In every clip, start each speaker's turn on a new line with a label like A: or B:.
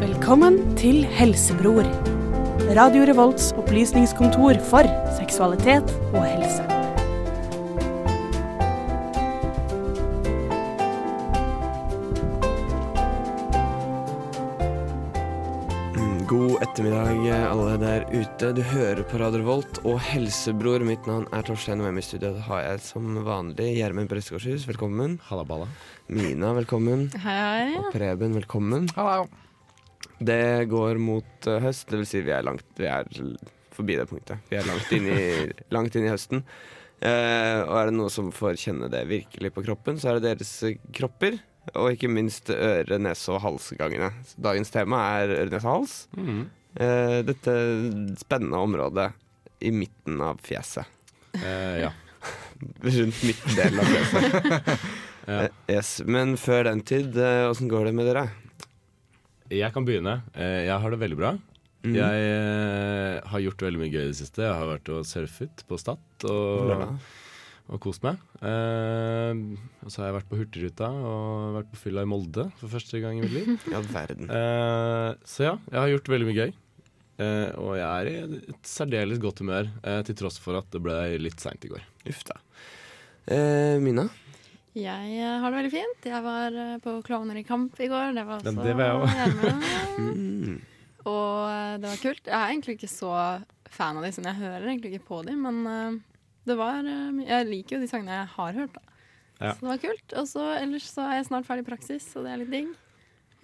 A: Velkommen til Helsebror. Radio Revolts opplysningskontor for seksualitet og helse.
B: God ettermiddag, eh, alle der ute. Du hører på Radio Volt og Helsebror. Mitt navn er Torstein, og med meg i studio har jeg som vanlig Gjermund Prestegårdshus, velkommen.
C: Halaballa.
B: Mina, velkommen.
D: Hei,
B: Og Preben, velkommen. Det går mot eh, høst, det vil si vi er langt Vi er forbi det punktet. Vi er langt inn i, langt inn i høsten. Eh, og er det noe som får kjenne det virkelig på kroppen, så er det deres eh, kropper. Og ikke minst øre-, nese- og halsgangene. Så Dagens tema er øre-, nese- og hals.
C: Mm.
B: Eh, dette spennende området i midten av fjeset.
C: Eh, ja.
B: Rundt midtdelen av fjeset.
C: Ja.
B: Eh, yes. Men før den tid, eh, åssen går det med dere?
C: Jeg kan begynne. Eh, jeg har det veldig bra.
B: Mm.
C: Jeg eh, har gjort veldig mye gøy i det siste. Jeg har vært og surfet på Stad og,
B: Lørdag?
C: og kost meg. Eh, og så har jeg vært på Hurtigruta og vært på fylla i Molde for første gang i mitt liv.
B: I all verden.
C: Eh, så ja, jeg har gjort veldig mye gøy. Eh, og jeg er i et særdeles godt humør, eh, til tross for at det ble litt seint i går.
B: Uff da. Eh, Mina?
D: Jeg eh, har det veldig fint. Jeg var eh, på Klovner i kamp i går. Det
C: Ja,
D: var også
C: det var jeg også.
D: hjemme.
B: Mm.
D: Og eh, det var kult. Jeg er egentlig ikke så fan av de, sånn jeg hører egentlig ikke på de, men eh, det var eh, my- Jeg liker jo de sangene jeg har hørt, da.
C: Ja.
D: Så det var kult. Og så ellers så er jeg snart ferdig i praksis, så det er litt digg.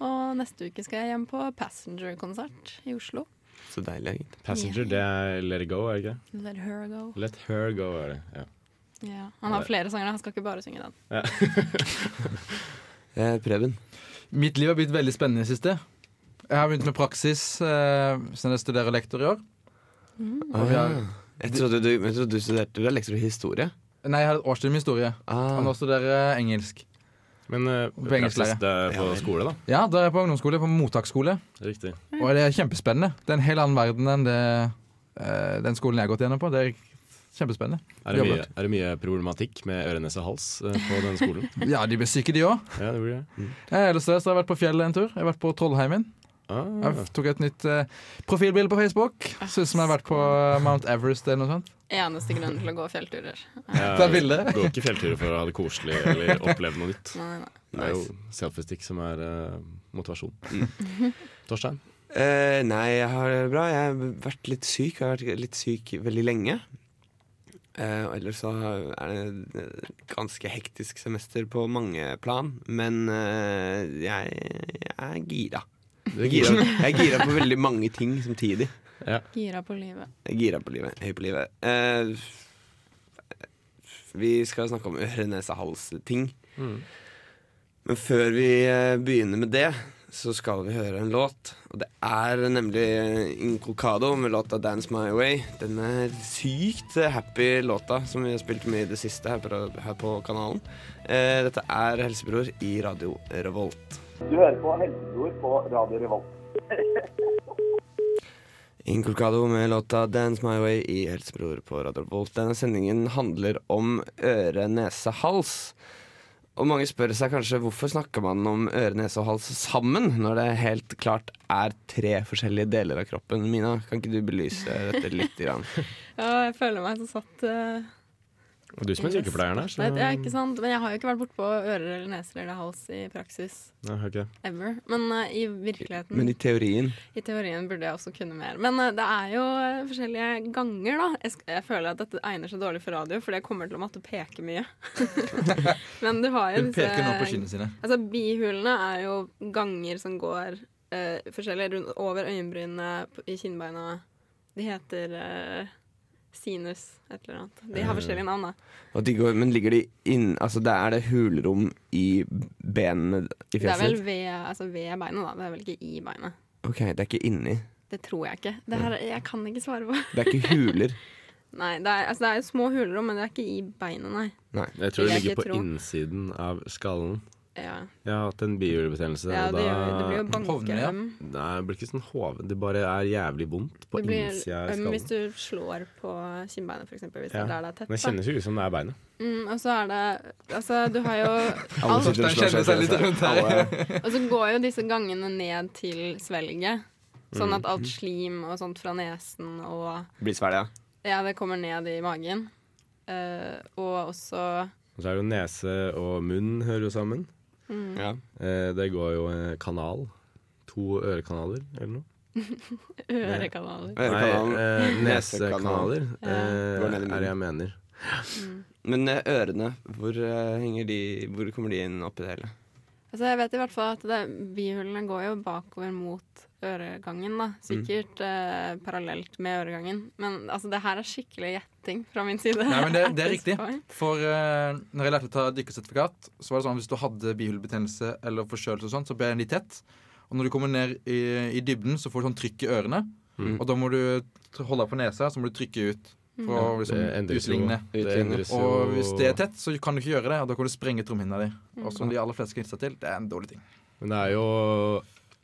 D: Og neste uke skal jeg hjem på Passenger-konsert i Oslo.
B: Så deilig, egentlig.
C: Passenger, det er Let it go, er det ikke?
D: Let her go.
C: Let her go, er det. Ja.
D: Ja. Han har flere sanger, da. han skal ikke bare synge den.
B: Eh, Preben?
E: Mitt liv har blitt veldig spennende i det siste. Jeg har begynt med praksis eh, siden jeg studerer lektor i år.
C: Mm.
B: Ah,
E: vi
B: ja.
E: er-
B: Jeg trodde du, jeg trodde du studerte Du er lektor i historie.
E: Nei, jeg har et årsstudium i historie. Og
B: Ah.
E: nå studerer jeg engelsk.
C: Men eh,
E: På engelsk,
C: praksis det er på skole, da.
E: Ja, da er jeg på ungdomsskole, på mottaksskole.
C: Riktig.
E: Og det er kjempespennende. Det er en helt annen verden enn det, eh, den skolen jeg har gått gjennom på. Det er kjempespennende.
C: Er det, mye,
E: Jobbet.
C: er det mye problematikk med øre, nese og hals eh, på denne skolen?
E: Ja, de blir syke, de òg.
C: ja, det blir det.
E: Ellers så har jeg vært på fjellet en tur. Jeg har vært på Trollheimen.
C: Ah,
E: Jeg tok et nytt eh, profilbilde på Facebook. Synes som jeg har vært på eh, Mount Everest eller noe sånt.
D: Eneste grunnen til å gå fjellturer.
C: jeg
E: Det er bildet.
C: Går ikke fjellturer for å ha det koselig eller oppleve noe nytt.
D: Nei, nei, nei.
C: Det er jo selfiestick som er eh, motivasjon.
D: Mm.
C: Torstein?
B: Eh, nei, jeg har det bra. Jeg har vært litt syk. Jeg har vært litt syk veldig lenge. Eh, og ellers så er det et ganske hektisk semester på mange plan. Men eh, jeg, jeg er gira. Jeg er gira, jeg er gira på veldig mange ting samtidig.
D: Gira på livet.
B: Jeg er gira på livet. Høy på livet. Eh, vi skal snakke om øre-nese-hals-ting.
C: Mm.
B: Men før vi eh, begynner med det, så skal vi høre en låt. Og det er nemlig Inculcado med låta 'Dance My Way'. Den er sykt happy låta som vi har spilt mye i det siste her på, her på kanalen. Eh, dette er Helsebror i Radio Revolt.
F: Du hører på Helsebror på Radio Revolt.
B: Inculcado med låta 'Dance My Way' i Helsebror på Radio Volt. Denne sendingen handler om øre, nese, hals. Og mange spør seg kanskje hvorfor snakker man om øre, nese og hals sammen, når det helt klart er tre forskjellige deler av kroppen. Mina, kan ikke du belyse dette litt? Grann?
D: Ja, jeg føler meg så satt eh,
C: Og du som er sykepleieren her, så
D: Nei, det er ikke sant, men jeg har jo ikke vært bortpå ører eller neser eller hals i praksis
C: Nei, ok.
D: ever. Men eh, i virkeligheten,
B: Men i teorien
D: i teorien, burde jeg også kunne mer. Men eh, det er jo eh, forskjellige ganger, da. Jeg, sk- jeg føler at dette egner seg dårlig for radio, fordi jeg kommer til å måtte peke mye. men du har jo
E: Hun peker nå på kinnene sine.
D: Altså, bihulene er jo ganger som går eh, forskjellig rundt, over øyenbrynene, på- i kinnbeina. De heter eh, sinus, et eller annet. De har forskjellige navn, da.
B: og de går, Men ligger de inn Altså, det er det hulrom i benene i
D: Det er vel
B: fjeset?
D: ved, altså ved beinet, da. Det er vel ikke i beinet.
B: OK, det er ikke inni.
D: Det tror jeg ikke. Det her, jeg kan ikke svare på.
B: Det er ikke huler.
D: Nei, det er, altså, det er jo små hulrom, men det er ikke i beinet, nei.
B: Nei.
C: Jeg tror det
D: Vil jeg
C: ligger
D: ikke
C: på
D: tro.
C: innsiden av skallen.
D: Ja,
C: Jeg har hatt en bihulebetennelse,
D: ja
C: og
D: det, gjør, det blir
C: da
D: jo banke
E: Hovner, ja.
D: øm.
C: Nei, det blir ikke sånn hoven. Det bare er jævlig vondt på
D: Det blir
C: innsida av
D: øm hvis
C: skallen.
D: du slår på kinnbeinet, f.eks. Hvis
C: Ja.
D: det er der
C: Men det
D: det er tett. da.
C: kjennes jo ut som det er beinet.
D: Mm, og så er det Altså, du har jo
B: Alle
D: alt,
B: sitter og
E: Den
B: slår
E: kjenner seg
B: i
E: litt rundt her.
B: Alle-
D: Og så går jo disse gangene ned til svelget. Sånn at alt slim og sånt fra nesen og
B: Blir svelga.
D: Ja, det kommer ned i magen. Eh, og også
C: Og så er det jo nese og munn hører jo sammen.
E: Mm.
B: Ja.
C: Eh, det går jo en kanal. To ørekanaler eller noe.
D: ørekanaler.
B: Ørekanalen.
C: Nei, eh, nesekanaler eh,
B: Går ned i munnen.
C: er det jeg mener.
B: Men eh, ørene, hvor, eh, henger de, hvor kommer de inn oppi det hele?
D: Altså, jeg vet i hvert fall at det, bihulene går jo bakover mot øregangen, da. Sikkert eh, parallelt med øregangen. Men altså, det her er skikkelig gjetting fra min side.
E: Nei, men det,
D: at
E: det er
D: this
E: riktig.
D: point.
E: For eh, når jeg lærte å ta dykkersertifikat, så var det sånn at hvis du hadde bihulebetennelse eller forkjølelse, og sånt, så ble den litt tett. Og når du kommer ned i, i dybden, så får du sånn trykk i ørene. Og da må du t- holde deg på nesa, så må du trykke ut for å liksom,
C: Det endres jo-
E: utligne.
C: det endres jo-
E: Og hvis det er tett, så kan du ikke gjøre det, og da kan du sprenge trommehinna di. Og som de aller fleste knytter seg til, det er en dårlig ting.
C: Men det er jo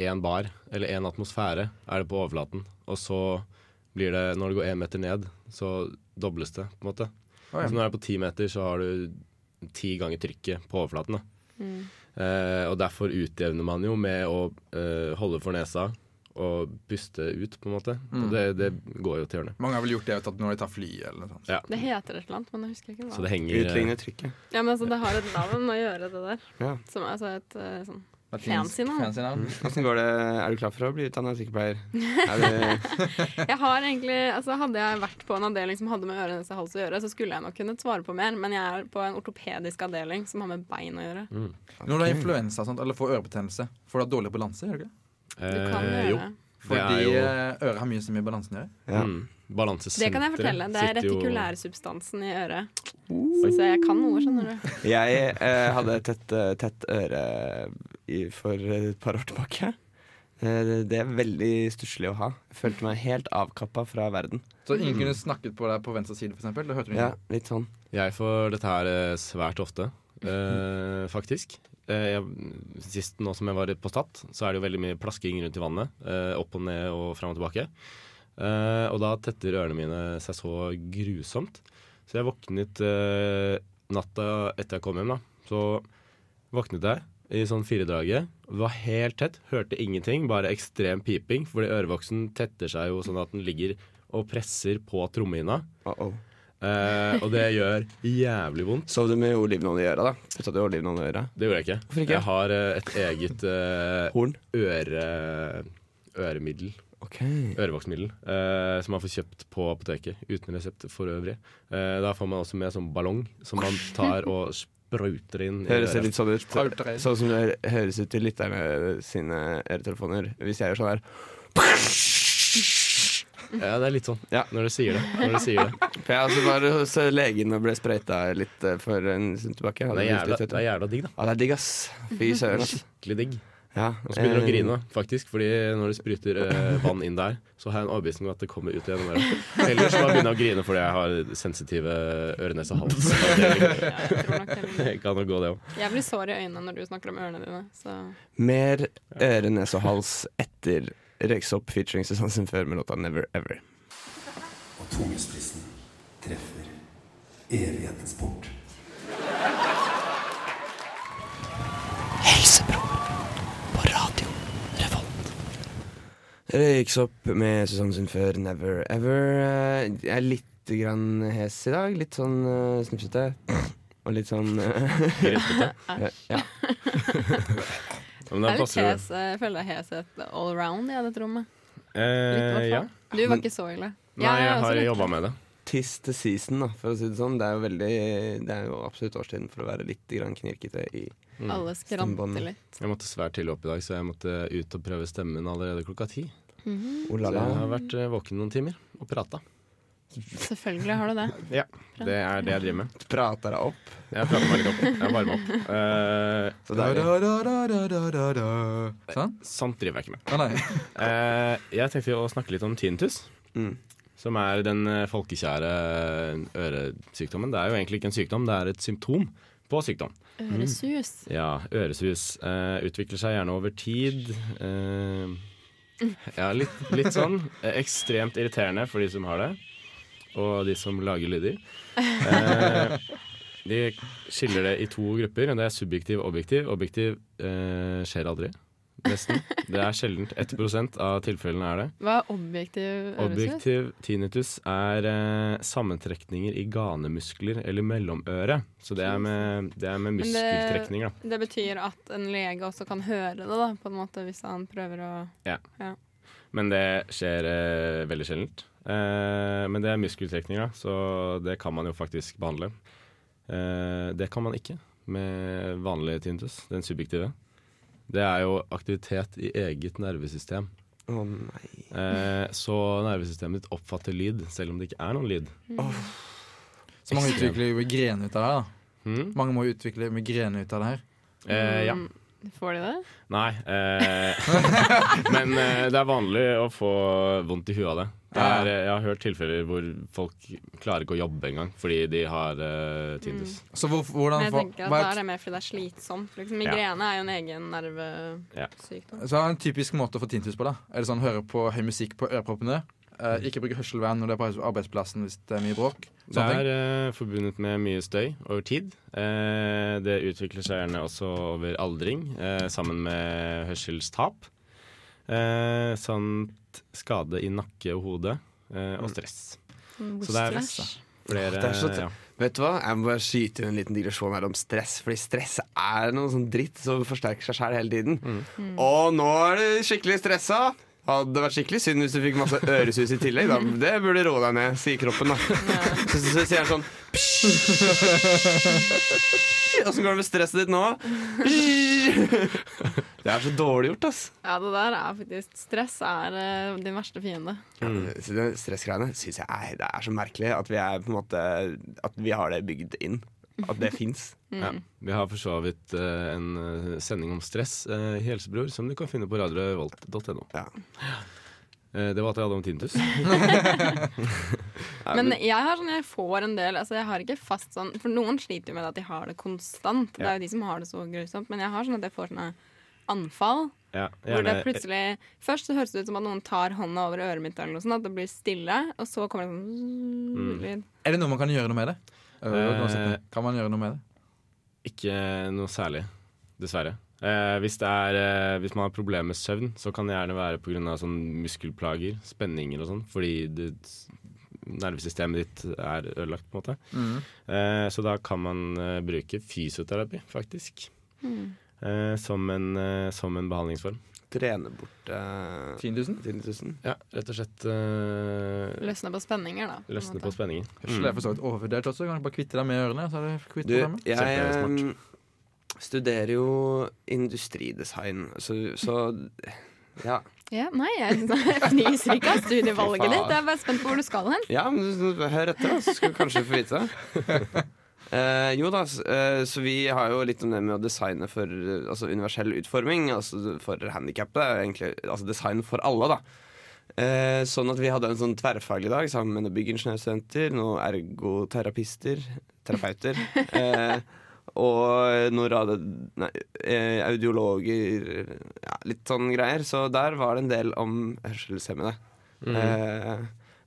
C: én bar, eller én atmosfære, er det på overflaten. Og så blir det, når det går én meter ned, så dobles det, på en måte.
E: Å, ja.
C: Så når det er på ti meter, så har du ti ganger trykket på overflaten. Da.
D: Mm.
C: Eh, og derfor utjevner man jo med å eh, holde for nesa og puste ut, på en måte. Og det, det går jo til hjørnet.
E: Mange har vel gjort det vet, at når de tar fly eller noe sånt.
C: Ja.
D: Det heter et eller annet, men jeg husker ikke
C: Så
D: hva.
C: det henger eh,
B: Utligne trykket.
D: Ja, men altså, det har et navn å gjøre det der.
B: Ja.
D: Som altså et eh, sånn
E: Latinsk
D: Fancy navn.
E: Fancy navn.
B: Åssen går det? Er du klar for å bli utdanna sykepleier? Er du,
D: Jeg har egentlig, altså Hadde jeg vært på en avdeling som hadde med øre, nese, hals å gjøre, så skulle jeg nok kunnet svare på mer, men jeg er på en ortopedisk avdeling som har med bein å gjøre.
E: Når du har influensa og sånt, eller får ørebetennelse, får du ha dårlig balanse? gjør du ikke? det?
D: Du kan
C: eh,
D: gjøre
C: jo.
D: det.
C: Det er
E: Fordi
C: jo
E: eh, øret har mye som gir balansen å gjøre.
B: ja.
C: mm, balansesenteret.
D: Det kan jeg fortelle. Det er
C: sitter jo-
D: retikulærsubstansen i øret. Så jeg kan noe, skjønner du.
B: Jeg eh, hadde et tett, eh, tett øre i, for et par år tilbake. Eh, det- det er veldig stusslig å ha. Jeg følte meg helt avkappa fra verden.
E: Så ingen kunne snakket på deg på venstre side, for eksempel? Det
C: Mm.
E: hørte du ikke.
B: Ja, litt sånn.
C: Jeg får dette her eh, svært ofte, eh, faktisk. Eh, jeg, sist nå som jeg var på Stad, så er det jo veldig mye plasking rundt i vannet. Eh, opp og ned og fram og tilbake. Eh, og da tetter ørene mine seg så grusomt. Så jeg våknet eh, natta etter jeg kom hjem, da. Så våknet jeg i sånn firedraget. Det var helt tett, hørte ingenting, bare ekstrem piping. Fordi ørevoksen tetter seg jo sånn at den ligger og presser på trommehinna.
B: Oh -oh.
C: Eh, og det gjør jævlig vondt.
B: Sov du med olivenolje i øra, da? Putta du olivenolje i øra?
C: Det gjorde jeg ikke.
B: Hvorfor ikke?
C: Jeg har eh, et eget eh,
B: Horn?
C: øre, øremiddel,
B: Ok.
C: ørevoksmiddel, eh, som man får kjøpt på apoteket uten resept for øvrig. Eh, da får man også med sånn ballong som man tar og sprøyter inn i
B: Høres det
C: øret.
B: litt sånn ut?
E: Prauter inn.
B: Sånn som det høres ut til lytterne sine øretelefoner hvis jeg gjør sånn her.
C: Ja, det er litt sånn
B: Ja.
C: når du sier det. Når du sier det.
B: For jeg altså var hos legen og ble sprøyta litt eh, for en stund tilbake. Jeg
C: Det
B: hadde
C: er jævla,
B: lyst litt,
C: det er
B: vet du.
C: jævla digg, da.
B: Ja, det er digg, ass. Fy søren, ass.
C: Skikkelig digg.
B: Ja.
C: Og så begynner du å
B: eh,
C: grine, faktisk, fordi når du spruter eh, vann inn der, så har jeg en overbevisning om at det kommer ut gjennom øret. Ellers så bare begynner jeg å grine fordi jeg har sensitive ørenese og hals.
D: Ja, Jeg, tror nok det er
C: Det
D: min.
C: kan jo gå, det òg.
D: jeg blir sår i øynene når du snakker om ørene dine, så
B: Mer øre, nese og hals etter Røyksopp featuring Susanne Sundfør med låta 'Never Ever'.
G: og tungespissen treffer evighetens port.
B: Røyksopp med Susanne Sundfør, 'Never Ever'. Eh, Jeg er litt grann hes i dag. Litt sånn eh, snufsete. Og litt sånn eh, ja.
C: Men da
D: Jeg er litt
C: passer det.
D: hes. Jeg føler deg heshet all round i dette rommet. Litt, i
C: Eh,
D: hvert
C: ja.
D: fall. Du var ikke så ille.
C: Nei,
D: Ja,
C: jeg
D: er også
C: har
D: litt-
C: jobba med det.
B: Tiss til season, da, for å si det sånn. Det er jo veldig Det er jo absolutt årstiden for å være litt grann knirkete i
D: sånn, Alle skranter
B: Stemmebånd.
D: litt.
C: Mm. Jeg måtte svært tidlig opp i dag, så jeg måtte ut og prøve stemmen allerede klokka ti.
D: Mhm.
C: Så jeg
B: olala.
C: har vært eh, våken noen timer og prata.
D: Selvfølgelig har du det.
C: Ja, det er det jeg driver med.
B: Prata deg opp.
C: Jeg prater meg litt opp. Jeg varmer opp. Eh,
B: Så
E: Da,
B: deilig.
E: da, da, da, da, da, da. Sånn?
C: sånt driver jeg ikke med.
E: Å nei.
C: Eh, jeg tenkte å snakke litt om tinnitus.
B: Mm.
C: Som eh, er den eh, folkekjære øresykdommen. Det er jo egentlig ikke en sykdom, det er et symptom på sykdom.
H: Øresus.
C: Ja, øresus eh, utvikler seg gjerne over tid. Eh, ja, litt, litt sånn. Eh, ekstremt irriterende for de som har det, og de som lager lyder. Eh, de skiller det i to grupper. Det er subjektiv og objektiv. Objektiv eh, skjer aldri. Nesten. Det er sjeldent. 1 av tilfellene er det.
D: Hva er objektiv øresus?
C: Objektiv tinnitus er eh, sammentrekninger i ganemuskler eller mellomøre. Så det er med, det er med
H: det-
C: muskeltrekning, da.
H: Det betyr at en lege også kan høre det, da, på en måte, hvis han prøver å
C: Men det skjer eh, veldig sjeldent. Eh, men det er muskeltrekning, da, så det kan man jo faktisk behandle. Eh, det kan man ikke med vanlig tinnitus, den subjektive. Det er jo aktivitet i eget nervesystem.
B: Å nei.
C: Eh, så nervesystemet ditt oppfatter lyd, selv om det ikke er noen lyd.
E: Så mange
C: Ekstremt.
E: utvikler jo migrene ut av det her. da.
C: Hmm?
E: Mange må jo utvikle migrene ut av det her.
C: Eh, ja.
H: mm,
D: Får de det?
C: Nei. Eh, men eh, det er vanlig å få vondt i huet av det. det er, eh, jeg har hørt tilfeller hvor folk klarer ikke å jobbe engang fordi de har eh,
B: Mm.
C: tinnitus.
E: Så hvor, hvordan
H: Men jeg
E: hva-
H: tenker at
E: hva
H: da
E: er-
H: er det mer fordi det er slitsomt. Liksom. Migrene er jo en egen nervesykdom.
E: Så er det en typisk måte å få tinnitus på, da. Er det sånn høre på høy musikk på øreproppene? Eh, ikke bruke hørselvern når det er på arbeidsplassen hvis det er mye bråk?
C: Det
E: Sånne
C: er eh, forbundet med mye støy over tid. Eh, det utvikler seg gjerne også over aldring, eh, sammen med hørselstap. Eh, samt skade i nakke og hode, eh, og stress. Så det er flere
B: Åh, Mm. det er så tøft.
C: ja.
B: Vet du hva, jeg må bare skyte inn en liten digresjon her om stress. Fordi stress er noe sånn dritt som forsterker seg sjæl hele tiden. Og nå er du skikkelig stressa! Hadde vært skikkelig synd hvis du fikk masse øresus i tillegg. Da. Det burde roe deg ned, sier kroppen. da Så, så, så sier han sånn Åssen går det med stresset ditt nå? Det er så dårlig gjort, ass.
H: Ja, det der er faktisk Stress er eh, din verste fiende.
B: Så det Stressgreiene syns jeg er, det er så merkelig at vi, er, på en måte, at vi har det bygd inn. At det fins.
H: Mm.
C: Ja. Vi har for så vidt eh, en eh, sending om stress eh, i Helsebror, som du kan finne på radiorevolt.no.
B: Ja.
C: Eh, det var alt jeg hadde om tinnitus.
H: Men jeg har sånn, jeg får en del altså Jeg har ikke fast sånn For noen sliter jo med at de har det konstant. Det er jo de som har det så grusomt. Men jeg har sånn at jeg får sånne anfall.
C: Ja,
H: Hvor det
C: gjerne-
H: plutselig Først så høres det ut som at noen tar hånda over øret mitt, eller noe sånt, at det blir stille, og så kommer det sånn
C: Mm.
H: lyd.
E: ting. Er det noe man kan gjøre noe med det? Eh, hva skal man
C: Eh,
E: si? kan man gjøre noe med det?
C: Ikke noe særlig, dessverre. Eh, hvis, det er, eh, hvis man har problemer med søvn, så kan det gjerne være pga. Sånn muskelplager, spenninger og sånn, fordi det, nervesystemet ditt er ødelagt, på en måte.
H: Mm.
C: Eh, så da kan man eh, bruke fysioterapi, faktisk,
H: Mm.
C: eh, som, en, eh, som en behandlingsform.
B: Trene bort eh,
E: 10 000?
B: 10 000.
C: Ja, rett og slett eh,
H: Løsne på spenninger, da. på en
C: løsne
H: måte.
C: på spenningen.
E: Hørsel er for så vidt overvurdert også. Kan du bare kvitte deg med ørene? Så er det kvitt
B: Du,
E: problemet.
B: jeg
C: Kjempesmart.
B: eh, studerer jo industridesign, så, så ja.
H: Ja, nei, jeg
D: sånn-
H: fnyser ikke av studievalget
B: Fy faen.
H: ditt. Jeg er bare spent på hvor du skal hen.
B: ja, men du- du- hør etter, da, så skal du kanskje få vite det. Eh, jo da, s- eh, så vi har jo litt om det med å designe for eh, altså universell utforming, altså for handikappede. Egentlig, altså design for alle, da. Eh, sånn at vi hadde en sånn tverrfaglig dag sammen med noen byggingeniørstudenter, noen ergoterapister, terapeuter, eh, og noen radio, nei, eh, audiologer, ja, litt sånn greier. Så der var det en del om hørselshemmede. Eh,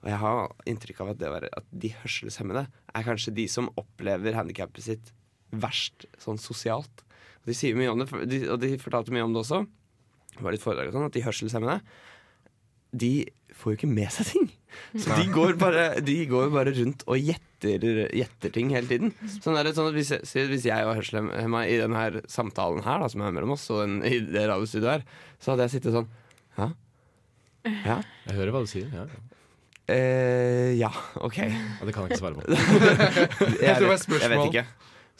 B: og jeg har inntrykk av at, det var, at de hørselshemmede er kanskje de som opplever handikappet sitt verst sånn sosialt. Og de, sier mye om det, for- de, og de fortalte mye om det også. Det var litt foredrag og sånn, at de hørselshemmede de får jo ikke med seg ting. Så de går bare, de går jo bare rundt og gjetter, gjetter ting hele tiden. Sånn er det sånn at hvis, jeg- si- hvis jeg var hørselshemma i denne samtalen her, da, som er mellom oss, og den, i det radiostudioet her, så hadde jeg sittet sånn Hæ? Ja?
C: Jeg hører hva du sier. Ja.
B: Eh, ja, OK.
C: Ja, det kan jeg ikke svare på.
B: Jeg,
E: tror det
B: vet,
E: var et spørsmål.
B: jeg vet ikke.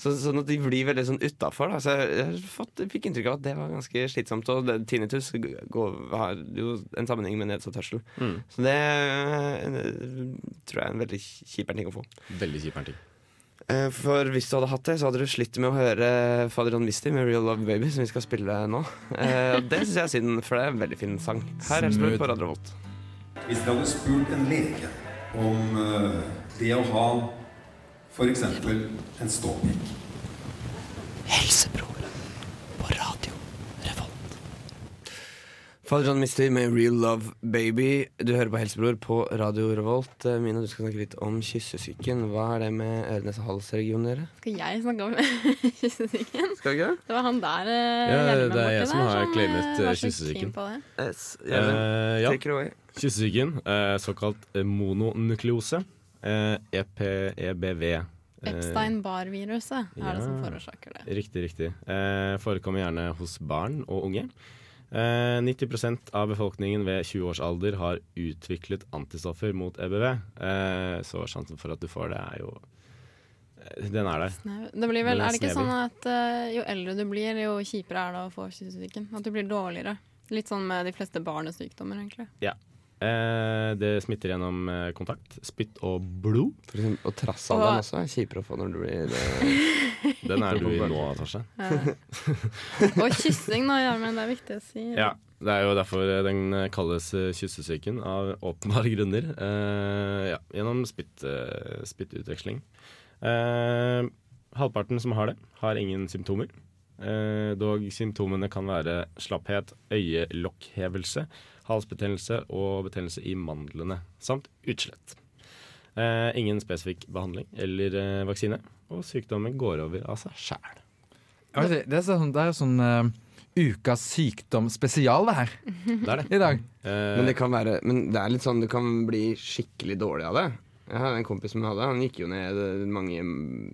B: Så, sånn at de blir veldig sånn utafor. Så jeg, jeg, har fått, jeg fikk inntrykk av at det var ganske slitsomt. Og det, tinnitus går, har jo en sammenheng med nedsatt hørsel. Så det eh, tror jeg er en veldig kjip ting å få.
C: Veldig kjip ting.
B: Eh, For hvis du hadde hatt det, så hadde du slitt med å høre Fader John Misty med Real Love Baby, som vi skal spille nå. Eh, og Det syns jeg er synd, for det er en veldig fin sang. Her er det
E: Smooth.
B: på Radio Volt.
G: Hvis dere hadde spurt en lege om eh, det å ha f.eks. en ståpikk
A: Helsebroren på Radio Revolt.
B: Fader John Misty med Real Love Baby. Du hører på Helsebror på Radio Revolt. Eh, Mina, du skal snakke litt om kyssesyken. Hva er det med øre-nese-hals-regionen dere?
D: Skal jeg snakke om kyssesyken?
B: Skal jeg
D: Det var han der eh,
C: Ja,
D: hjelmen
C: det er jeg
D: borti
C: som
D: der
C: har
D: eh,
C: claimet, eh,
D: var så keen
C: kyssesyken.
D: på det.
B: yes,
C: Eh, ja.
B: Take it away.
C: Kyssesyken, eh, såkalt eh, mononukleose, eh, EPEBV. eh,
D: Epstein-Barr-viruset er det som
C: ja.
D: forårsaker det.
C: Riktig, riktig. Eh, forekommer gjerne hos barn og unge. Eh, 90 av befolkningen ved 20 års alder har utviklet antistoffer mot EBV. Eh, så sjansen for at du får det, er jo eh, Den er der.
D: Nei, det blir
C: Den
D: vel,
C: er
D: er det ikke
C: snever.
D: sånn at eh, jo eldre du blir, jo kjipere er det å få kyssesyken? At du blir dårligere? Litt sånn med de fleste barnesykdommer, egentlig.
C: Eh, det smitter gjennom eh, kontakt, spytt og blod.
B: For eksempel, og trassalderen også er kjipere å få når du blir det.
C: Den er du i nå, Tasha.
D: Eh, og kyssing, da, Gjermund. Det er viktig å si.
C: Ja, det er jo derfor den kalles eh, kyssesyken, av åpenbare grunner. Eh, ja, gjennom spytt, eh, spyttutveksling. Eh, halvparten som har det, har ingen symptomer. Eh, dog symptomene kan være slapphet, øyelokkhevelse, halsbetennelse og betennelse i mandlene, samt utslett. Eh, ingen spesifikk behandling eller eh, vaksine, og sykdommen går over av seg sjæl.
E: Ja, men Det, det er sånn, det er sånn eh, ukas sykdom spesial det her
C: Det er det.
E: i dag.
C: Eh,
B: Men det kan være Men det er litt sånn du kan bli skikkelig dårlig av det. Jeg har en kompis som jeg hadde, han gikk jo ned eh, mange,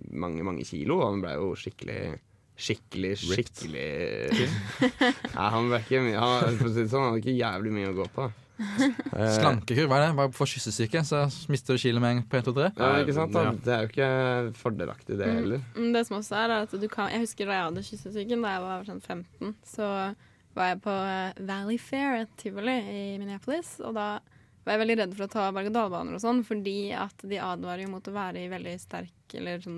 B: mange, mange kilo, og han blei jo skikkelig Skikkelig,
C: Ripped.
B: skikkelig Nei, han ble ikke mye Han, for å si det sånn, han hadde ikke jævlig mye å gå på. Eh,
E: Slankekur, hva er det? Bare for kyssesyke, så mister du kilo med en på 1, 2, 3.
B: Ja, ikke sant?
C: Ja. Mm.
B: Da? Det er jo ikke fordelaktig, det heller.
D: Men Mm, Det som også er, er at du kan Jeg husker da jeg hadde kyssesyken, da jeg var sånn 15, så var jeg på eh, Valley Fair et tivoli i Minneapolis, og da var jeg veldig redd for å ta berg-og-dal-baner og sånn, fordi at de advarer jo mot å være i veldig sterk eller sånn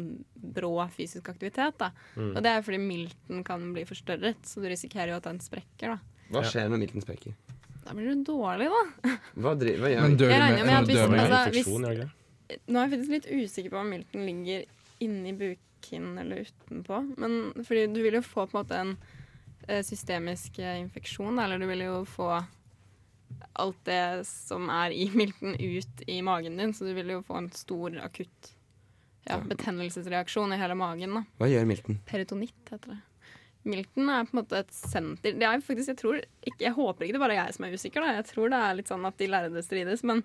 D: brå fysisk aktivitet, da. Og det er fordi milten kan bli forstørret, så du risikerer jo at den sprekker, da.
B: Hva skjer når milten sprekker?
D: Da blir du dårlig, da.
B: Hva, dri- hva gjør
E: Men dør du
D: Jeg
E: med,
D: regner med at hvis-
E: dør du med
D: altså, hvis-
C: infeksjon, gjør det ikke det?
D: Nå er jeg faktisk litt usikker på om milten ligger inni bukhinnen eller utenpå. Men fordi du vil jo få på en måte en eh, systemisk eh, infeksjon, da, eller du vil jo få alt det som er i milten ut i magen din, så du vil jo få en stor akutt ja, betennelsesreaksjon i hele magen. da.
B: Hva gjør milten?
D: Peritonitt heter det. Milten er på en måte et senter Det er jo faktisk, jeg, tror, ikke, jeg håper ikke det bare er jeg som er usikker, da. Jeg tror det er litt sånn at de lærde strides, men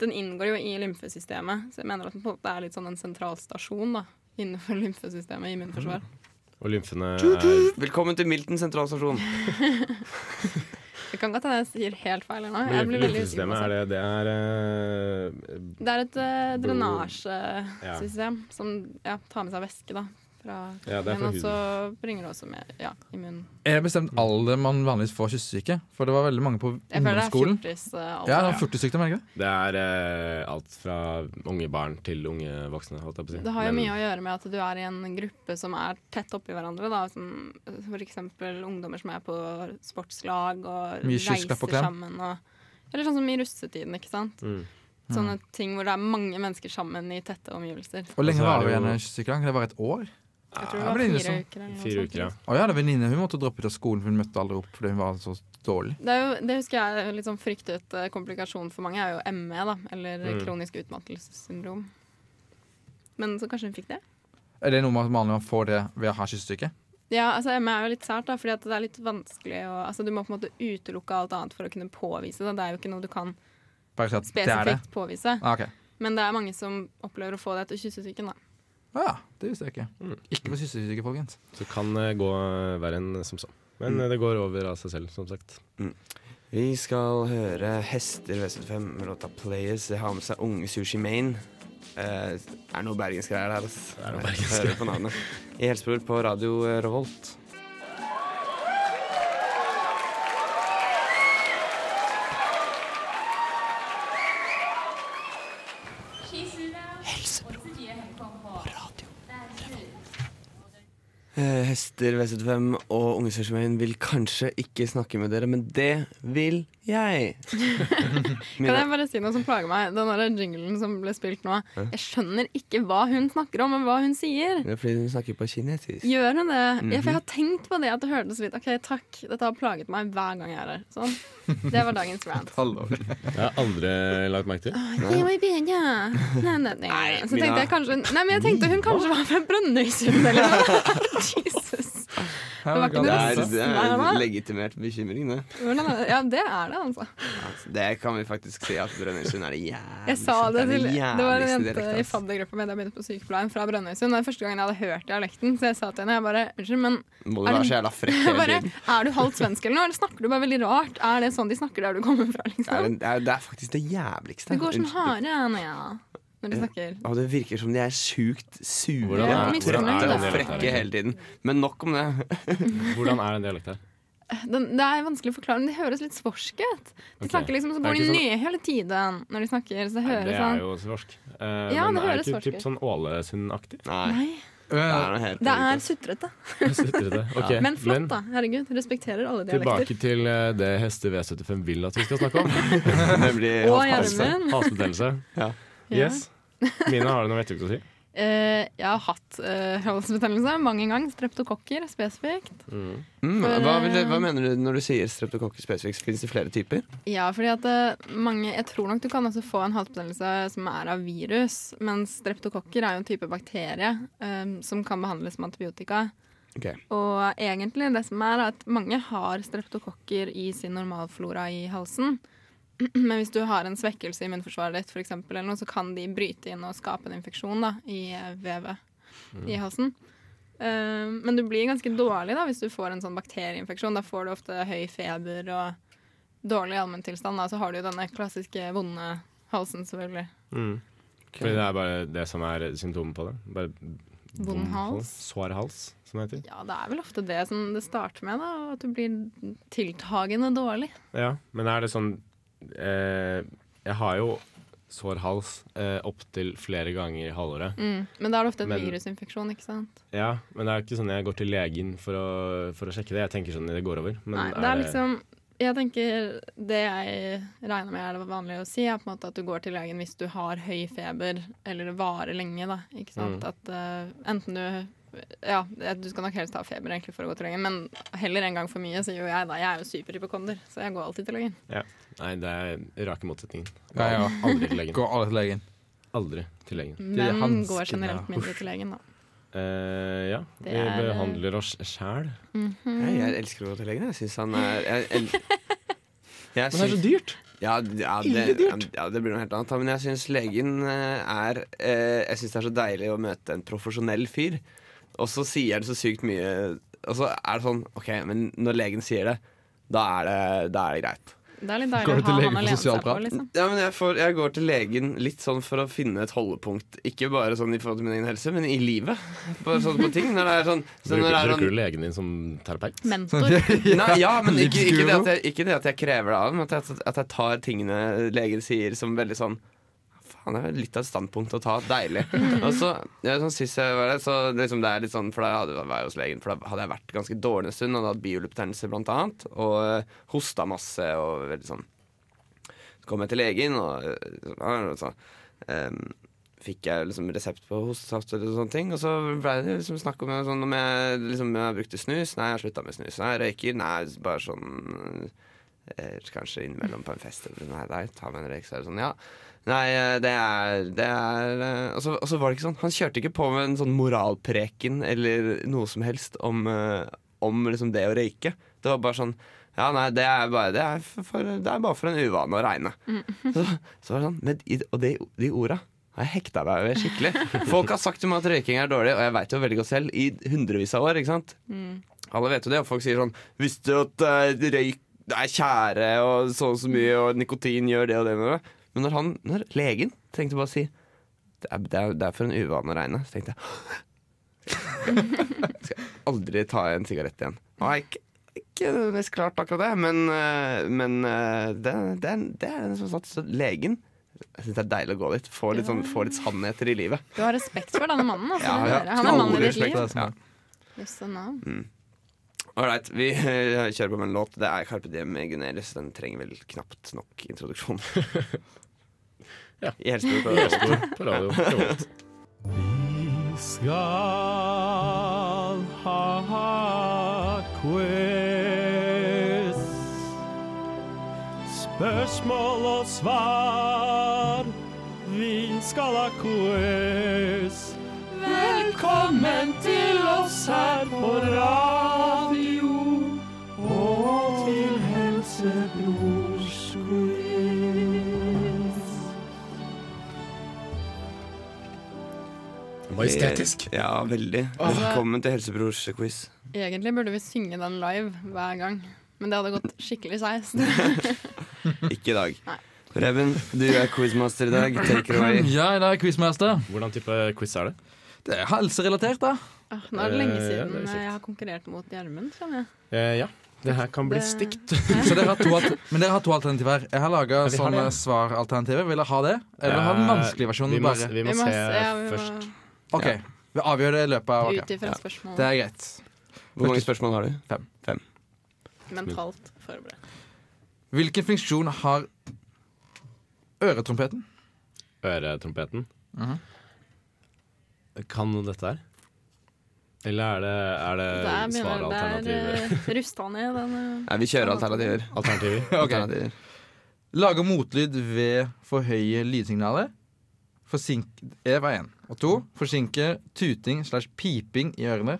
D: den inngår jo i lymfesystemet. Så jeg mener at den på en måte er litt sånn en sentral stasjon da, innenfor lymfesystemet i immunforsvar.
C: Mm. Og lymfene er
B: Velkommen til Milten sentralstasjon.
D: Det kan godt hende jeg sier helt feil her nå.
C: Men
D: Jeg blir veldig usikker.
C: Lymfesystemet er
D: på
C: det Det er eh,
D: sånt. Det er et eh,
C: Blod.
D: drenasjesystem som ja, tar med seg væske, da. Fra
C: Ja, det er fra
D: men også bringer det også med ja, immun...
E: Er det bestemt alder man vanligvis får kyssesyke? For det var veldig mange på
D: Jeg føler det er eh,
E: ungdomsskolen.
D: fjortisalder.
E: Ja, det var 40-sykdom, er det ikke det?
C: Det er eh, alt fra unge barn til unge voksne, holdt jeg på å si.
D: Det har jo
C: Men
D: mye å gjøre med at du er i en gruppe som er tett oppi hverandre. Da. Som for eksempel ungdommer som er på sportslag og
E: Mye kyss,
D: reiser
E: klapp og klem.
D: sammen. Og, eller sånn som i russetiden, ikke sant.
C: Mm.
D: Sånne ting hvor det er mange mennesker sammen i tette omgivelser.
B: Altså,
E: Hvor lenge
C: Og så er
E: varer
C: det jo-
E: gjerne kyssesyke? Kan det være et år?
D: Jeg tror det
E: Ja,
D: var
E: men det er
D: fire
E: liksom-
D: uker. Eller noe
C: Fire
D: sånt,
C: uker, ja.
E: Å ja, det er venninne. Hun måtte droppe ut av skolen, for hun møtte aldri opp fordi hun var så dårlig.
D: Det, er jo, det husker jeg litt sånn fryktet eh, komplikasjon for mange, er jo ME, da. Eller
C: Mm.
D: kronisk utmattelsessyndrom. Men så kanskje hun fikk det?
E: Er det noe med at man man får det ved å ha kyssesyke?
D: Ja, altså ME er jo litt sært, da, fordi at det er litt vanskelig å altså, Du må på en måte utelukke alt annet for å kunne påvise det. Det er jo ikke noe du kan
E: Bare si at det er det.
D: spesifikt påvise.
E: Ah, ok.
D: Men det er mange som opplever å få det etter kyssesyken, da.
E: Å ja, det visste jeg ikke.
B: Mm.
E: Ikke for kyssesyke, folkens.
C: Så kan det gå verre enn som så. Men
D: Mm.
C: eh, det går over av seg selv, som sagt.
B: Vi skal høre Hester V75 med låta 'Players'. Det har med seg unge Sushi Main. Eh, er det noe bergensgreier her, ass.
C: Det er noe bergensk
B: Hører på navnet. I Helsebror på Radio eh, Revolt. Eh, Hester V75 og Ungesøstermøyen vil kanskje ikke snakke med dere, men det vil jeg.
D: Kan
B: Mina,
D: jeg bare si noe som plager meg? Den der jinglen som ble spilt nå. Jeg skjønner ikke hva hun snakker om, men hva hun sier.
B: det er fordi hun snakker på kinesisk.
D: Gjør hun det? Ja, for jeg har tenkt på det at det hørtes litt OK, takk, dette har plaget meg hver gang jeg er her. Sånn. Det var dagens rant.
E: Halvår.
C: Jeg har aldri lagt merke til.
D: Nei, nei, nei, nei. Så tenkte jeg kanskje Nei, men jeg tenkte hun kanskje var fra Brønnøysund eller noe. Jesus. var ikke
B: Det
D: noe
B: er, det er
D: Nei,
B: en
D: nei.
B: legitimert bekymring, det.
D: Hvordan er det? Ja, det er det, altså.
B: Altså, Det kan vi faktisk si at Brønnøysund er det jævligste.
D: Jeg sa det
B: er
D: til Det var en
B: jævligste
D: jente
B: dialekten,
D: i
B: altså.
D: faddergruppa mi da jeg begynte på sykepleien fra Brønnøysund. Det er første gangen jeg hadde hørt dialekten, så jeg sa til henne jeg bare Unnskyld, men
B: Må du
D: Er det-
B: være så jævla frekk
D: jeg
B: hele
D: bare,
B: tiden?
D: er du halvt svensk eller noe? Eller snakker du bare veldig rart? Er det sånn de snakker der du kommer fra,
B: Det er,
D: liksom?
B: en- det er, det er faktisk det jævligste.
D: Det går som
B: Unnskyld.
D: hare nå, ja, når de snakker.
B: Ja, det virker som de er sjukt sure
C: Hvordan
D: er-
B: og
D: Misfornøyd,
B: trøtte
D: da.
B: og frekke hele tiden. Men nok om det.
C: Hvordan er den dialekten her?
D: Den, det er vanskelig å forklare, men de høres litt svorske ut. De
C: Ok.
D: snakker liksom, så
C: Det er
D: går de
C: ikke
D: ned hele tiden når de snakker, så det
C: Nei,
D: høres
C: det
D: sånn
C: er jo svorsk. Eh,
D: Ja,
C: men
D: det
C: er
D: høres
C: det ikke
D: svorsk
C: typ
D: ut.
C: sånn Ålesund-aktig?
B: Nei.
D: Nei,
B: Det er noe helt
D: det er sutrete.
C: Sitter det? Ok,
D: Men flott, da. Herregud, respekterer alle dialekter.
C: Tilbake til eh, det heste V75 vil at vi skal snakke om.
B: Nemlig
D: Og
B: halsbase.
D: Gjermund.
C: Halsbetennelse.
B: Ja.
C: Yes. Mina, har du noe vettugt å si?
D: Eh, jeg har hatt uh, halsbetennelse mange ganger. Streptokokker spesifikt.
B: Mm,
D: For,
B: hva, vil,
D: eh,
B: hva mener du når du sier streptokokker spesifikt? Fins det flere typer?
D: Ja, fordi at eh, mange Jeg tror nok du kan også få en halsbetennelse som er av virus, men streptokokker er jo en type bakterie eh, som kan behandles med antibiotika.
B: Ok.
D: Og egentlig det som er, er at mange har streptokokker i sin normalflora i halsen. Men hvis du har en svekkelse i immunforsvaret ditt, for eksempel, eller noe, så kan de bryte inn og skape en infeksjon da, i eh, vevet i halsen. Eh, men du blir ganske dårlig da, hvis du får en sånn bakterieinfeksjon. Da får du ofte høy feber og dårlig allmenntilstand, da, så har du jo denne klassiske vonde halsen, selvfølgelig.
C: Fordi det er bare det som er symptomet på det. Bare
D: Vond hals.
C: Sår hals, som det heter.
D: Ja, det er vel ofte det som det starter med, da, at du blir tiltagende dårlig.
C: Ja, men er det sånn eh, Jeg har jo sår hals eh, opptil flere ganger i halvåret.
D: Men da er det ofte en
C: Men-
D: virusinfeksjon, ikke sant?
C: Ja, men det er ikke sånn jeg går til legen for å, for å sjekke det. Jeg tenker sånn det går over. Men
D: Nei, det er liksom Jeg tenker det jeg regner med er det vanlige å si, er på en måte at du går til legen hvis du har høy feber, eller det varer lenge, da. Ikke sant? At eh, enten du ja, du skal nok helst ha feber egentlig for å gå til legen, men heller en gang for mye, sier jo jeg da. Jeg er jo superhypokonder, så jeg går alltid til legen.
C: ja. Nei, det er rake motsetningen.
E: Ja, ja.
C: Aldri til legen.
E: Går alle til legen.
C: Aldri til
D: Mm.
C: legen.
E: Det er
D: Men
E: hanskene.
D: går generelt mindre til legen, da.
C: Eh, ja, vi
D: Det er, eh,
C: behandler oss sjæl.
D: Mm.
B: Jeg, jeg elsker å gå til legen. Jeg syns han er jeg, el- jeg
C: Men det er så
B: syns-
C: dyrt!
B: ja, ja, det, ja, det blir noe helt annet. Men jeg syns legen eh, er eh, Jeg syns det er så deilig å møte en profesjonell fyr. Og så sier han så sykt mye Og så er det sånn OK, men når legen sier det, da er det, da er det greit.
D: Det er litt deilig
E: Går du
D: å ha
E: til legen
D: han
E: for
D: alene
E: sosial
D: seg på,
E: prat?
D: liksom.
B: Ja, men jeg, får, jeg går til legen litt sånn for å finne et holdepunkt. Ikke bare sånn i forhold til min egen helse, men i livet. Bare sånn på ting. Når det er sånn, så når
C: Bruker,
B: det er
C: bruker
B: sånn
C: du legen din som terapeut?
D: Mentor.
B: Nei, ja, men ikke, ikke, det at jeg, ikke det at jeg krever det av dem, men at jeg, at jeg tar tingene legen sier som veldig sånn Faen, det er litt av et standpunkt å ta. Deilig. Og så, ja, sånn sist jeg var der, så liksom det er litt sånn For da hadde jeg vært hos legen, for da hadde jeg vært ganske dårlig en stund. Hadde hatt bihulebetennelse, blant annet, og eh, hosta masse og veldig sånn. Så kom jeg til legen, og eh, så, eh, fikk jeg liksom resept på hostesaft eller sånne ting. Og så ble det liksom snakk om sånn, om jeg, liksom, om jeg brukte snus. Nei, jeg slutta med snus. Nei, jeg røyker. Nei, bare sånn eh, Kanskje innimellom på en fest eller noe. Nei, nei, ta meg en røyk, så er det sånn. Ja. Nei, eh, det er, det er eh, og, så, og så var det ikke sånn. Han kjørte ikke på med en sånn moralpreken eller noe som helst om, eh, om liksom det å røyke. Det var bare sånn ja, nei, det er bare, det er for, det er bare for en uvane å regne. Så, så var det sånn, men, i- Og de, de orda har jeg hekta meg ved skikkelig. Folk har sagt til meg at røyking er dårlig, og jeg veit jo veldig godt selv, i hundrevis av år. ikke sant? Alle vet jo det, og folk sier sånn Visste du at eh, røyk er tjære, og så og så mye, og nikotin gjør det og det med det? Men når, han, når legen trengte bare å si det er, det, er, det er for en uvane å regne, så tenkte jeg Skal jeg aldri ta en sigarett igjen. Og jeg, ikke, ikke det mest klart akkurat det, men, eh, men eh, det, det, er- det er som sagt så legen. Jeg syns det er deilig å gå dit. Få litt, sånn, få litt sannheter i livet.
D: Du har respekt for denne mannen. Altså,
B: Ja,
D: det
B: ja.
D: hører jeg. Han er mannen i ditt
B: Stor
D: liv.
B: respekt. Ja.
D: Just a now.
B: Ålreit, vi eh, kjører på med en låt. Det er Carpe Diem med Gunerius. Den trenger vel knapt nok introduksjon.
C: Ja.
B: I helsebror på
C: Helsebro på radio. Revolt.
I: skal ha quiz. Spørsmål og svar. Vi skal ha quiz. Velkommen til oss her på radio og til Helsebrors quiz.
C: Majestetisk.
B: Ja, veldig. Velkommen til Helsebrors quiz.
D: Egentlig burde vi synge den live hver gang, men det hadde gått skikkelig skeis.
B: Ikke i dag. Preben, du er quizmaster i dag. Take it away.
E: Ja, i dag er quizmaster.
C: Hvordan type quiz er det?
E: Det er helserelatert, da.
D: Åh, Ah, Nå er det lenge
C: Eh, ja,
D: siden
C: det er kjipt.
D: eh, jeg har konkurrert mot Gjermund, kjenner jeg.
C: Eh, ja. Det her kan bli
D: Det-
C: stygt.
E: Så dere har to alt men dere har to alternativ her. Jeg har laga
C: Ja, vi har
E: sånne
C: det.
E: svaralternativer. Vil dere ha det? Eller ha den
C: Eh,
E: vanskelige
C: vi
E: versjonen
C: må,
E: bare?
C: Vi må,
D: Vi må
C: se
D: s- ja, vi må-
C: først. Ah,
E: OK. Vi avgjør det i løpet av ok.
D: Ut ifra
E: Det
D: spørsmålet.
E: er greit.
B: Hvor mange spørsmål har du?
E: Fem.
D: Mentalt forberedt.
E: Hvilken funksjon har øretrompeten?
C: Øretrompeten.
E: Mhm.
C: Kan noe dette her? Eller er det, er
D: Der
C: det
D: begynner det
C: svaralternativer?
D: er eh, rusta ned, den eh,
B: Nei, vi kjører alternativer.
C: Alternativer?
B: alternativer.
E: Lager motlyd ved for høye lydsignaler. Forsink E var én. Og to forsinker tuting slash piping i ørene.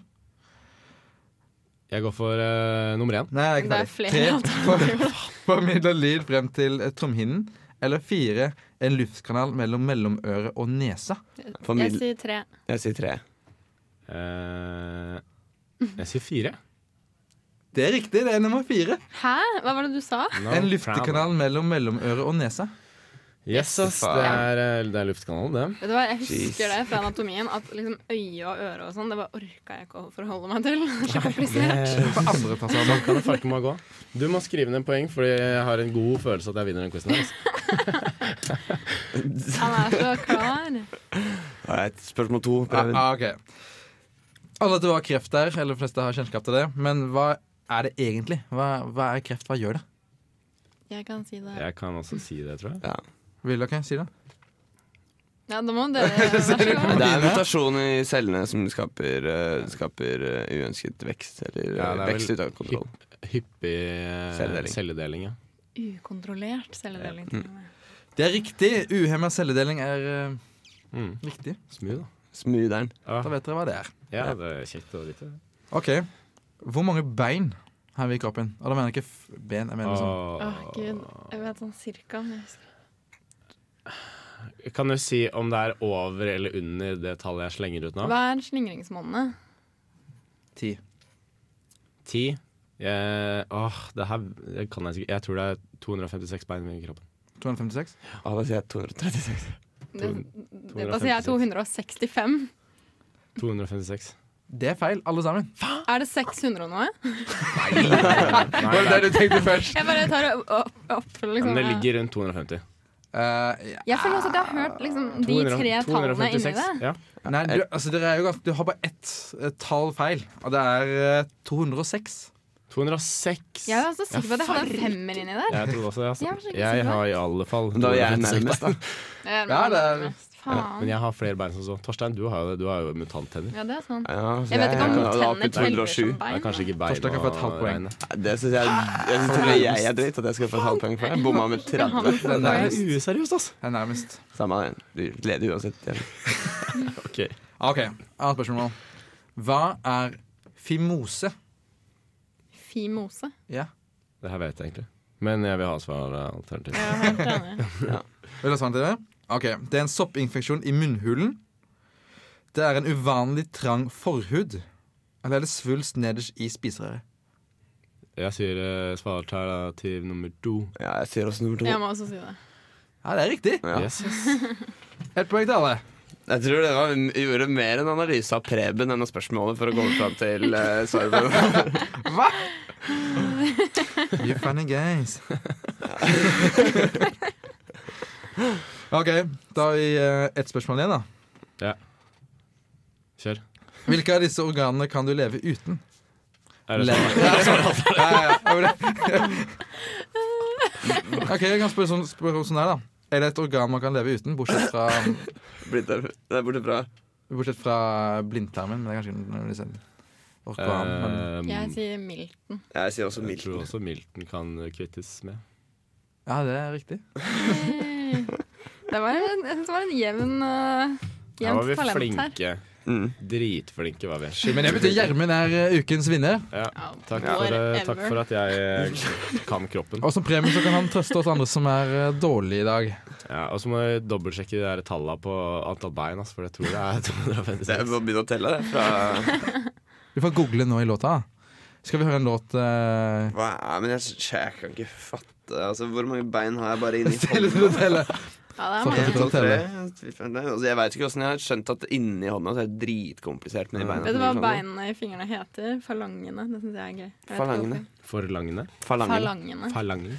C: Jeg går for eh, nummer én.
E: Nei, jeg er ikke
D: Det er
E: ferdig.
D: flere
E: Tre for- formidler lyd frem til eh, tromhinnen. Eller fire en luftkanal mellom mellomøret og nesa.
D: Jeg
B: Formidl...
D: sier tre.
B: Jeg sier tre.
C: Eh, jeg sier fire.
E: Det er riktig, det er nummer fire.
D: Hæ? Hva var det du sa?
C: No
E: En
C: problem.
E: luftekanal mellom mellomøret og nesa.
C: Yes, ass. Det er, eh, det er luftkanalen, det.
D: Vet du hva, Jeg husker
B: Jeez.
D: det fra anatomien, at liksom øye og øre og sånn, det bare orka jeg ikke å forholde meg til. Så komplisert.
E: På andre fasaden.
C: Kan det farke meg å gå? Du må skrive ned poeng, fordi jeg har en god følelse at jeg vinner den quizen. her, ass.
D: Han er så klar.
B: Alright, spørsmål to,
E: Ah,
B: Preben.
E: ah, ok. Alle vet du har kreft der, eller de fleste har kjennskap til det. Men hva er det egentlig? Hva, hva er kreft? Hva gjør det?
D: Jeg kan si det.
C: Jeg kan også si det, tror jeg.
E: Vil dere si det?
D: Ja, da må dere Vær så god.
B: Det er mutasjon i cellene som skaper, eh, skaper eh, uønsket vekst, eller
C: Ja, det
B: eh,
C: er
B: vekst
C: vel
B: ut av kontroll.
C: Hyppig eh,
B: Celledeling.
C: celledeling, ja.
D: Ukontrollert celledeling. til og med.
E: Det er riktig. Uhemma celledeling er eh,
C: Mm.
E: riktig.
C: Smooth, da.
B: Smootheren.
E: Da vet dere hva det er.
C: Ja, det er kjekt å vite.
E: Ok, Hvor mange bein har vi i kroppen? Og da mener jeg ikke f ben. jeg mener
C: Ah.
E: sånn.
D: Åh,
C: Åh.
D: gud. Jeg vet sånn cirka. men jeg husker-
C: Kan du si om det er over eller under det tallet jeg slenger ut nå?
D: Hva er slingringsmonnet?
E: Ti.
C: Ti? Jeg, åh, det her det kan jeg sikkert Jeg tror det er 256 bein i kroppen.
E: 256.
B: Ah, da sier jeg 236.
D: Det, det, da sier jeg 265.
C: 256.
E: Det er feil, alle sammen.
D: Er det 600 og noe?
E: Nei, det er det du tenkte først.
D: Jeg bare tar det opp, opp liksom.
C: Men det ligger rundt 250.
E: Eh, ja.
D: Jeg føler også at jeg har hørt liksom, de
C: 200
D: tre tallene inni
C: 256.
D: det.
C: Ja.
E: Nei, du, altså, dere er jo ganske, du har bare ett eh, tall feil, og det er eh, 206.
C: 206.
D: Jeg er også sikker på at jeg hadde en femmer inni der.
C: Jeg trodde også det.
D: Jeg var så
C: Altså.
D: ikke
C: Jeg
D: sikker.
C: har i alle fall
B: Da er jeg
C: 256.
B: nærmest, da.
D: Ja,
E: Ja, det er-
C: Men
D: Faen.
C: jeg har flere bein som så. Torstein, du har jo, det. du har jo mutantenner.
D: Ja, det er sånn.
B: Ja, så
D: Jeg vet ikke om
B: kan da opp i
D: tenner teller
B: 207.
D: sånn. som
C: Det er
D: bein.
C: kanskje ikke bein
E: Torstein kan få et
C: å
E: halvt poeng.
C: regne.
B: Nei, Det syns jeg, jeg synes til og med jeg er dritt, at jeg skal få et halvt poeng for det. Jeg Bomma med 30.
E: Det er
C: Det er
E: nærmest.
C: useriøst, altså.
E: Det er nærmest.
B: Samme det. Du leder uansett.
C: Ok.
E: Ah, OK, annet spørsmål. Hva er fimose?
D: Fimose.
E: Ja.
C: Det her vet jeg egentlig. Men jeg vil ha svaralternativ.
D: Jeg har hørt det.
E: Vil du ha svaret til det? Ok, Det er en soppinfeksjon i munnhulen. Det er en uvanlig trang forhud. Eller er det svulst nederst i spiserøret?
C: Jeg sier eh, svaralternativ nummer to.
B: Ja, jeg sier også nummer to.
D: Jeg må også si det.
E: Ja, det er riktig.
B: Ja.
C: Yes, yes.
E: Ett poeng til alle.
B: Jeg tror det var, gjorde mer en analyse av Preben enn av spørsmålet for å komme fram til eh, svaret. på det.
E: You funny guys. OK, da har vi eh, ett spørsmål igjen, da.
C: Kjør.
E: Hvilke av disse organene kan du leve uten?
C: Er det
E: Le-
C: sånn?
E: Ja, ja, ja, var det- OK, jeg kan spørre sånn, spørre sånn her, da. Er det et organ man kan leve uten, bortsett fra,
B: Blitt der, der borte fra.
E: bortsett fra blindtarmen? Men det er kanskje en- en- en- organ, men,
C: Eh,
D: Jeg sier mild.
B: Jeg sier også
C: jeg tror
B: Milton.
C: også Milton kan eh, kvittes med.
E: Ja, det er riktig.
D: Mm. Det var en, jeg synes det var en jevn uh,
C: Her var
D: jevnt
C: vi
D: talent her.
C: flinke.
B: Mm.
C: Dritflinke var vi.
E: Men det betyr Gjermund er eh, ukens vinner.
C: Ja.
D: Ja.
C: Takk, for, eh, takk for at jeg eh, kan kroppen.
E: Og som premie så kan han trøste oss andre som er eh, dårlige i dag.
C: Ja, og så må jeg dobbeltsjekke de der tallene på antall bein, ass, for jeg tror det er
B: Det er bare
C: 256.
B: å begynne å telle, det. Fra,
E: Vi får google nå i låta. da. Skal vi høre en låt eh,
B: hva er, men jeg, jeg kan ikke fatte altså, Hvor mange bein har jeg bare inni
E: Stille til å telle.
D: Ja, det er
E: Takk.
D: meg.
B: En, to,
E: til å telle.
B: tre, fire, fem, fem. Altså, jeg veit ikke åssen jeg har skjønt at inni hånda så er det dritkomplisert med de beina.
D: Vet du hva beinene i fingrene heter? Falangene. Det syns jeg er gøy. Jeg vet ikke
B: Falangene.
D: hvorfor.
C: Forlangende?
B: sånn. Falangen.
D: Falangene.
C: Falangen.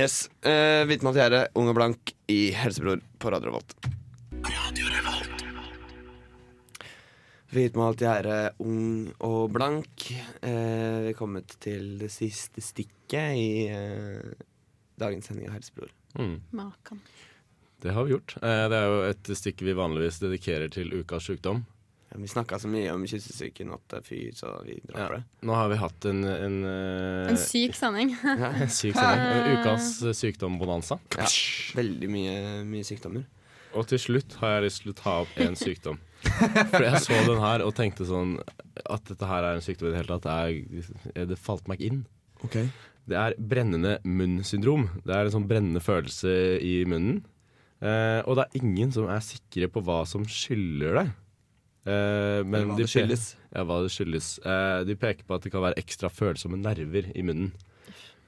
B: Yes. Uh, Hvite Mat Gjerde, Ung og Blank i Helsebror på Radio Revolt. Radio Revolt. Hvitmalt gjerde, ung og blank. Eh, vi er kommet til det siste stikket i eh, dagens sending av Helsebror.
C: Mm.
D: Makan.
C: Det har vi gjort. Eh, Det er jo et stykke vi vanligvis dedikerer til ukas sykdom.
B: Ja, Vi snakka så mye om kyssesyken at det er fyr, så vi drar for det.
C: Nå har vi hatt en, en, eh,
D: En syk sending.
C: en syk sending. En ukas eh, sykdom-bonanza.
B: Ja, veldig mye, mye sykdommer.
C: Og til slutt har jeg lyst til å ta opp en sykdom. For jeg så den her og tenkte sånn At dette her er en sykdom i det hele tatt. Det, er, det falt meg ikke inn. Det er brennende munnsyndrom. Det er en sånn brennende følelse i munnen. Eh, og det er ingen som er sikre på hva som skylder det. Eh, men
B: Eller hva
C: de
B: det
C: pe-
B: skyldes.
C: Ja, hva det skyldes. Eh, de peker på at det kan være ekstra følsomme nerver i munnen.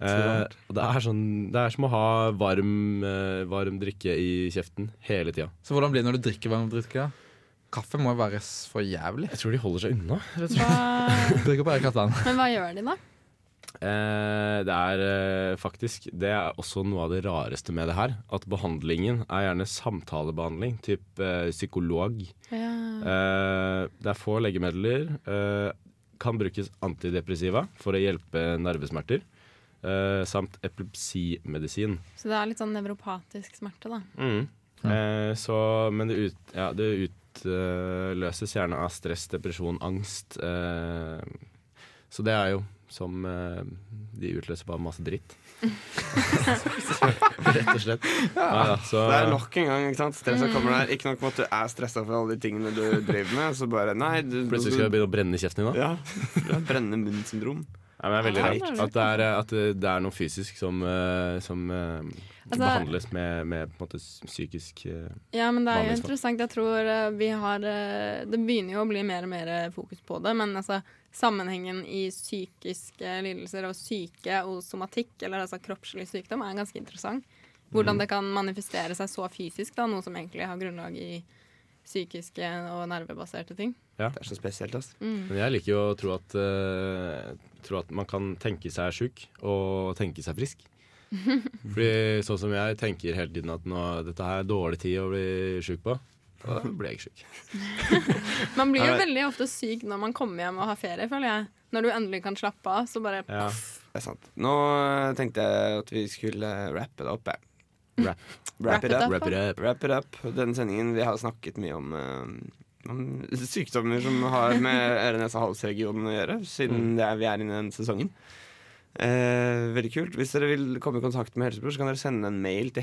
C: Eh, og det, er sånn, det er som å ha varm, eh, varm drikke i kjeften hele tida.
E: Så hvordan blir det når du drikker varm drikke? Kaffe må jo være s- for jævlig.
C: Jeg tror de holder seg unna.
D: Hva...
E: Drikker bare kaffevann.
D: Men hva gjør de, da?
C: Eh, det er eh, faktisk Det er også noe av det rareste med det her. At behandlingen er gjerne samtalebehandling, typ eh, psykolog.
D: Ja.
C: Eh, det er få legemidler. Eh, kan brukes antidepressiva for å hjelpe nervesmerter. Eh, samt epilepsimedisin.
D: Så det er litt sånn nevropatisk smerte, da.
C: Mm. Eh, så, men det, ut, ja, det utløses gjerne av stress, depresjon, angst. Eh, så det er jo som eh, de utløser bare masse dritt. Rett og slett. Neida, så,
B: Det er nok en gang, ikke sant? Stresset kommer der. Ikke nok med at du er stressa for alle de tingene du driver med, så bare Nei, du
C: Plutselig skal det begynne å brenne i kjeften din. da.
B: Ja. Brennende munnsyndrom.
C: Nei, men det er veldig
B: Ja,
C: rart at det er, eh, at det- det er noe fysisk som, eh, som eh,
D: Altså-
C: behandles med, med på en måte psykisk eh,
D: Ja, men det er jo
C: Vanlig smerte.
D: interessant. Jeg tror eh, vi har eh, Det begynner jo å bli mer og mer fokus på det, men altså sammenhengen i psykiske lidelser og syke og somatikk, eller altså kroppslig sykdom, er ganske interessant.
B: Mhm.
D: Hvordan det kan manifestere seg så fysisk, da, noe som egentlig har grunnlag i psykiske og nervebaserte ting.
B: Det er så spesielt, ass.
C: Men jeg liker jo å tro at, eh, tro at man kan tenke seg sjuk og tenke seg frisk. Fordi sånn som jeg tenker hele tiden at nå, dette her er dårlig tid å bli sjuk på. Og da ble jeg ikke sjuk.
D: Man blir jo
B: Nei.
D: veldig ofte syk når man kommer hjem og har ferie, føler jeg. Når du endelig kan slappe av, så bare
C: Ja.
B: Det er sant. Nå eh, tenkte jeg at vi skulle rappe det opp, jeg.
C: Wrap,
B: Wrap it up.
C: wrap it up.
B: Wrap it up. Denne sendingen, vi har snakket mye om eh, om sykdommer som har med øre-nese-hals-regionen å gjøre,
E: Mm.
B: siden det er, vi er inne i den sesongen. Eh, veldig kult. Hvis dere vil komme i kontakt med Helsebror, så kan dere sende en mail til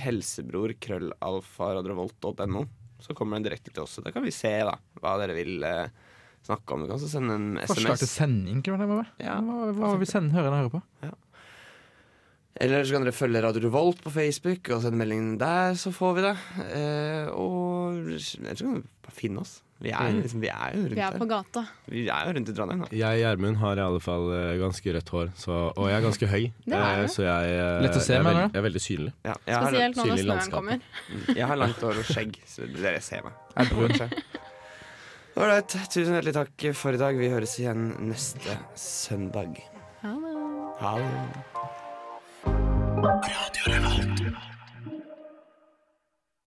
B: helsebror.krøllalfaradrevolt.no. Så kommer den direkte til oss. og Da kan vi se da, hva dere vil eh, snakke om. Vi kan også sende en
E: Forslag til
B: SMS.
E: sending, kunne det være?
B: Ja.
E: Hva, hva vil vi sende hørerne høre på?
B: Eller så kan dere følge Radio Revolt på Facebook og sende meldingen der, så får vi det. Eh, og ellers kan dere bare finne oss. Vi er, liksom, vi er jo rundt
D: Vi er
B: her.
D: på gata.
B: Vi er jo rundt i Trondheim, da.
C: Jeg, Gjermund, har i alle fall eh, ganske rødt hår, så, og jeg er ganske høy.
D: Det er
C: eh,
D: du.
C: så jeg, eh,
E: Lett å se,
C: jeg, er veld-
E: mener du?
C: jeg er veldig synlig.
B: Ja, jeg, har,
D: Spesielt nå når
C: synlig landskap.
D: snøen kommer.
B: jeg har langt hår og skjegg, så dere ser meg.
E: Er brun.
B: Ålreit, tusen hjertelig takk for i dag. Vi høres igjen neste søndag.
D: Ha det.
B: Ha det.